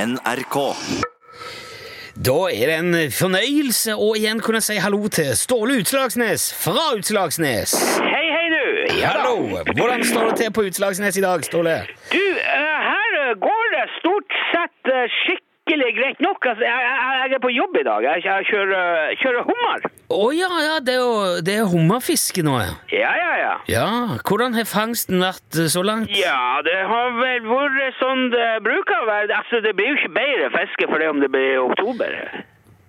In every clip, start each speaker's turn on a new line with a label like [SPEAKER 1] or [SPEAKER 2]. [SPEAKER 1] NRK.
[SPEAKER 2] Da er det en fornøyelse å igjen kunne si hallo til Ståle Utslagsnes fra Utslagsnes.
[SPEAKER 3] Hei, hei du! Ja da.
[SPEAKER 2] Hallo! Hvordan står det til på Utslagsnes i dag, Ståle?
[SPEAKER 3] Du, eh, her eh, går det stort sett eh, skikkelig greit nok. Altså, jeg, jeg, jeg er på jobb i dag. Jeg, jeg kjører, eh, kjører hummer.
[SPEAKER 2] Å ja, ja, det er, jo, det er hummerfiske nå, ja.
[SPEAKER 3] Ja, ja, ja.
[SPEAKER 2] Ja, Hvordan har fangsten vært eh, så langt?
[SPEAKER 3] Ja, det har vel vært sånn det bruker å være. Altså, det blir jo ikke bedre fiske for det om det blir i oktober.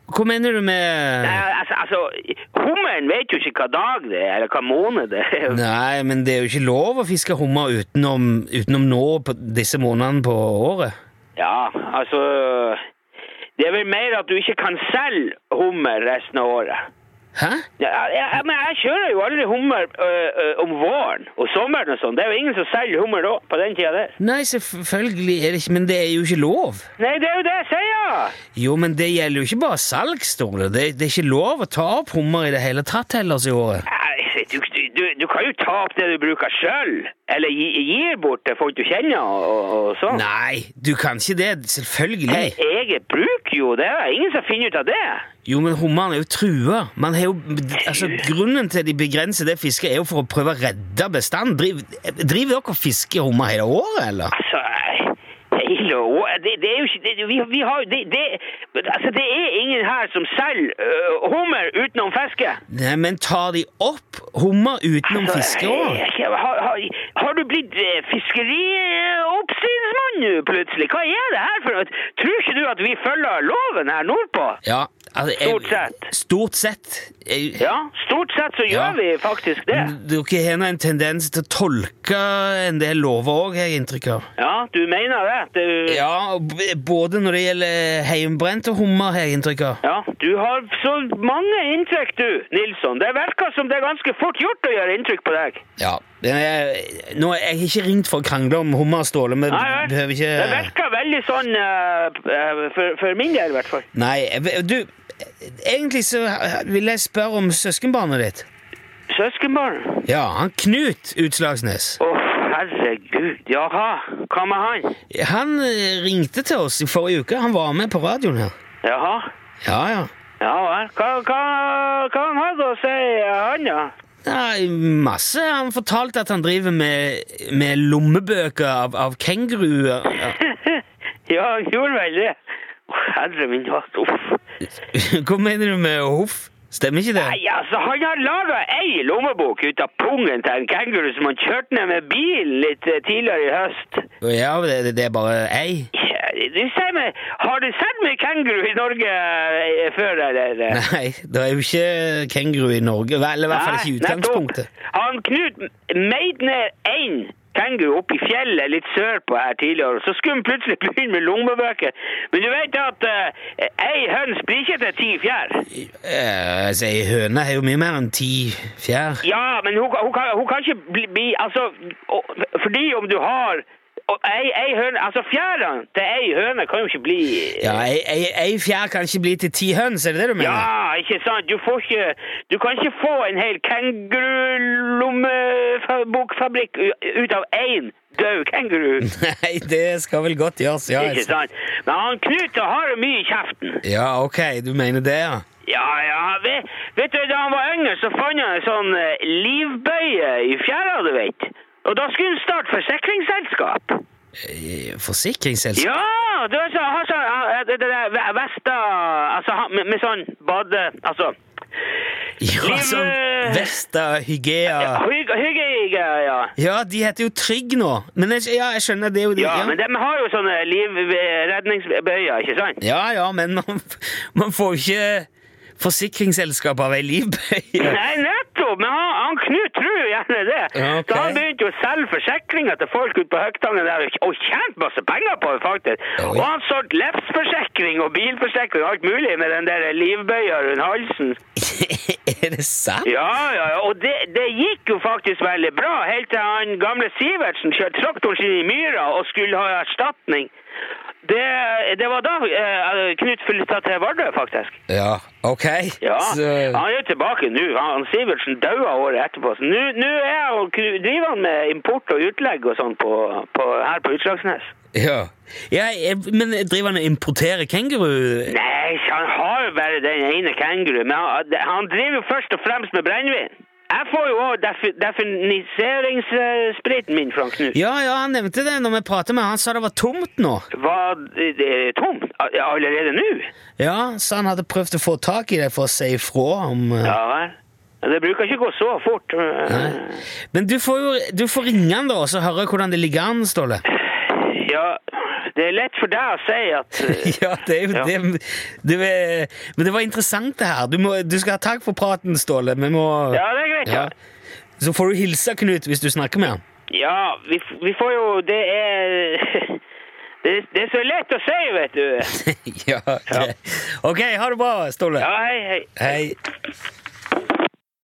[SPEAKER 2] Hva mener du
[SPEAKER 3] Eh,
[SPEAKER 2] med
[SPEAKER 3] Altså, altså hummeren vet jo ikke hva dag det er, eller hva måned det er.
[SPEAKER 2] Nei, men det er jo ikke lov å fiske hummer utenom, utenom nå på disse månedene på året.
[SPEAKER 3] Ja, altså Det er vel mer at du ikke kan selge hummer resten av året.
[SPEAKER 2] Hæ?
[SPEAKER 3] Ja, jeg, jeg, men jeg kjører jo aldri hummer ø, ø, om våren og sommeren og sånn. Det er jo ingen som selger hummer da, på den tida der.
[SPEAKER 2] Nei, selvfølgelig er det ikke Men det er jo ikke lov.
[SPEAKER 3] Nei, det er jo det jeg sier!
[SPEAKER 2] Jo, men det gjelder jo ikke bare salg, Ståle. Det, det er ikke lov å ta opp hummer i det hele tatt ellers i året.
[SPEAKER 3] Nei, Du, du, du, du kan jo ta opp det du bruker sjøl, eller gi, gir bort til folk du kjenner og, og, og sånn.
[SPEAKER 2] Nei, du kan ikke det. Selvfølgelig.
[SPEAKER 3] Eget bruk, jo. Det er ingen som finner ut av det.
[SPEAKER 2] Jo, men hummeren er jo trua. Man har jo, altså, grunnen til at de begrenser det fisket, er jo for å prøve å redde bestanden. Driv, driver dere og fisker hummer hele året, eller?
[SPEAKER 3] Altså, nei, hele å- det, det er jo ikke det, vi, vi har, jo- det, det, altså, det er ingen her som selger ø, hummer utenom fiske.
[SPEAKER 2] Nei, men tar de opp hummer utenom
[SPEAKER 3] Altså,
[SPEAKER 2] fiske òg?
[SPEAKER 3] Hei, Har, har, har du blitt eh, fiskerioppsynsmann nå, plutselig? Hva er det her for noe? Tror ikke du at vi følger loven her nordpå?
[SPEAKER 2] Ja, altså,
[SPEAKER 3] Stort sett.
[SPEAKER 2] Stort sett. Jeg,
[SPEAKER 3] Ja, stort sett så
[SPEAKER 2] Ja. Mm.
[SPEAKER 3] gjør vi faktisk det.
[SPEAKER 2] Dere har nå en tendens til å tolke en del lover òg, har jeg inntrykk av.
[SPEAKER 3] Ja, du mener det? Du, ja.
[SPEAKER 2] Ja, b- både når det gjelder heimbrent og hummer, har jeg inntrykk av.
[SPEAKER 3] du har så mange inntrykk, du, Nilsson. Det virker som det er ganske fort gjort å gjøre inntrykk på deg.
[SPEAKER 2] Ja. Jeg, nå, jeg har ikke ringt for å krangle om hummer, Ståle, men
[SPEAKER 3] Nei, nei.
[SPEAKER 2] behøver
[SPEAKER 3] Det
[SPEAKER 2] ikke
[SPEAKER 3] virker veldig sånn eh, eh, for, for min del, i hvert fall.
[SPEAKER 2] Nei, jeg- du Egentlig så vil jeg spørre om søskenbarnet ditt.
[SPEAKER 3] Søskenbarn?
[SPEAKER 2] Ja, han Knut Utslagsnes.
[SPEAKER 3] Å, herregud. Jaha. Hva med han?
[SPEAKER 2] Han eh, ringte til oss i forrige uke. Han var med på radioen her.
[SPEAKER 3] Jaha.
[SPEAKER 2] Ja, ja.
[SPEAKER 3] Ja vel. Hva, hva, hva han hadde å si, han, da?
[SPEAKER 2] Nei, masse. Han fortalte at han driver med, med lommebøker av, av kenguruer.
[SPEAKER 3] Ja, han gjorde vel det. Å, Herre min hatt, uff.
[SPEAKER 2] Hva mener du med huff? Stemmer ikke det?
[SPEAKER 3] Nei, altså, han har laga ei lommebok ut av pungen til en kenguru som han kjørte ned med bil litt eh, tidligere i høst.
[SPEAKER 2] Ja, det, det er bare ei.
[SPEAKER 3] Ja, du sier meg, har du sett mye kenguru i Norge eh, før, eller?
[SPEAKER 2] Nei, det er jo ikke kenguru i Norge. Vel, Eller i hvert fall ikke i
[SPEAKER 3] Nei,
[SPEAKER 2] utgangspunktet.
[SPEAKER 3] nettopp. Han Knut meid ned én kenguru opp i fjellet litt sørpå her tidligere, og så skulle han plutselig begynne med lommebøker. Men du vet at eh, ei høns blir ikke til ti fjær.
[SPEAKER 2] Eh, Altså, ei høne har jo mye mer enn ti fjær.
[SPEAKER 3] Ja, men hun, kan- hun, kan, hun kan ikke bli, bli Altså, og, fordi om du har og ei, ei høne, altså Fjærene til ei høne kan jo ikke bli
[SPEAKER 2] Ja, ei, ei, ei fjær kan ikke bli til ti høns, er det det du mener?
[SPEAKER 3] Ja, ikke sant? Du, får ikke, du kan ikke få en hel kengurulommebokfabrikk u- ut av én død kenguru.
[SPEAKER 2] Nei, det skal vel godt gjøres, ja.
[SPEAKER 3] Ikke sant? Men han Knut han har jo mye i kjeften.
[SPEAKER 2] Ja, ok, du mener det, ja.
[SPEAKER 3] Ja, ja. Vet, vet du, Da han var yngre, så fant han en sånn eh, livbøye i fjæra, du vet. Og da skulle han starte forsikringsselskap.
[SPEAKER 2] Eh, Forsikringsselskap?
[SPEAKER 3] Ja! Du vet, så, han har sånn eh, det det der ve- vesta Altså han- med, med sånn bade... Altså
[SPEAKER 2] Ja,
[SPEAKER 3] liv-
[SPEAKER 2] som Vesta, Hygea
[SPEAKER 3] Hygge, hygge, ja.
[SPEAKER 2] Ja, de heter jo Trygg nå. Men jeg, ja, jeg skjønner, det er jo de.
[SPEAKER 3] Ja, men de har jo sånne livredningsbøyer, ikke sant?
[SPEAKER 2] ja, ja, men man, man får jo ikke forsikringsselskap av ei livbøye.
[SPEAKER 3] Nei, nettopp! Men han, han Knut tror jo gjerne det.
[SPEAKER 2] Ja, ok.
[SPEAKER 3] Så han begynte jo å selge forsikringer til folk ute på Høgtangen der, og tjente masse penger på det, faktisk.
[SPEAKER 2] Oi.
[SPEAKER 3] Og han solgte livsforsikring og bilforsikring og alt mulig med den der livbøya rundt halsen.
[SPEAKER 2] er det sant?
[SPEAKER 3] Ja, ja, ja. Og det, det gikk jo faktisk veldig bra, helt til han gamle Sivertsen kjørte traktoren sin i myra og skulle ha erstatning. Det, det var da eh, Knut flytta til Vardø, faktisk.
[SPEAKER 2] Ja, ok.
[SPEAKER 3] Ja,
[SPEAKER 2] Så,
[SPEAKER 3] han er jo tilbake nå. Han, han Sivertsen daua året etterpå. Så nå nå er han- driver han med import og utlegg og sånn på, på, her på Utslagsnes.
[SPEAKER 2] Ja. ja jeg, men driver han og importerer kenguru?
[SPEAKER 3] Nei, han har jo bare den ene kenguruen. Men han, han driver jo først og fremst med brennevin. Jeg får jo òg definiseringsspriten min, Frank Knut.
[SPEAKER 2] Ja, ja, han nevnte det når vi pratet med han. Han sa det var tomt nå.
[SPEAKER 3] Var det tomt allerede nå?
[SPEAKER 2] Ja, så han hadde prøvd å få tak i det for å si ifra om eh,
[SPEAKER 3] Ja vel. Men Det bruker ikke gå så fort.
[SPEAKER 2] Men du får jo du får ringe han, da, og så høre hvordan det ligger an, Ståle.
[SPEAKER 3] Ja, det er lett for deg å si at
[SPEAKER 2] Ja, det er jo
[SPEAKER 3] Ja.
[SPEAKER 2] det du er, Men det var interessant, det her. Du, må, du skal ha takk for praten, Ståle. Vi må
[SPEAKER 3] Ja, det er greit, ja.
[SPEAKER 2] Så får du hilse Knut hvis du snakker med han.
[SPEAKER 3] Ja, vi, f- vi får jo Det er det, det er så lett å si, vet du.
[SPEAKER 2] ja, greit. Ok, ha det bra, Ståle.
[SPEAKER 3] Ja, hei, hei.
[SPEAKER 2] Hei.